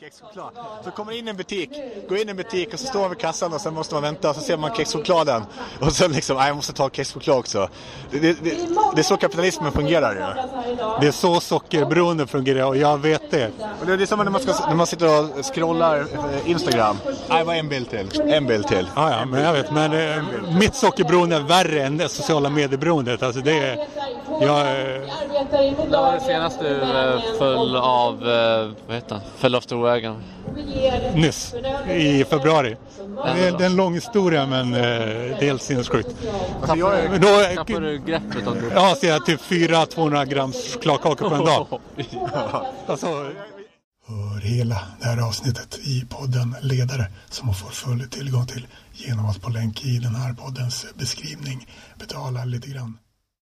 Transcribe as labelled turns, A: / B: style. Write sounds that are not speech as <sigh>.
A: kexchoklad. Så kommer in i en butik, går in i en butik och så står man vid kassan och sen måste man vänta och så ser man kexchokladen. Och sen liksom, nej jag måste ta kexchoklad också. Det, det, det, det är så kapitalismen fungerar ju.
B: Det är så sockerberoende fungerar och jag vet det.
A: Och det, det är som när man, ska, när man sitter och scrollar eh, Instagram. Nej, vad en bild till. En bild till.
B: Ja, ja, men jag vet. Men eh, mitt sockerberoende är värre än det sociala medieberoendet. Alltså det är... Jag, eh,
C: När var det senast du eh, föll av, eh, vad heter han, föll av storvägen?
B: nyss, i februari. Det är, det är en lång historia men eh, det är helt sinnessjukt.
A: Alltså, jag är,
B: Men då, eh,
C: Tappade du greppet om det?
B: ja, så jag typ 400-200 grams chokladkakor på en dag. <laughs> Alltså,
D: Hör hela det här avsnittet i podden Ledare som man får full tillgång till genom att på länk i den här poddens beskrivning betala lite grann.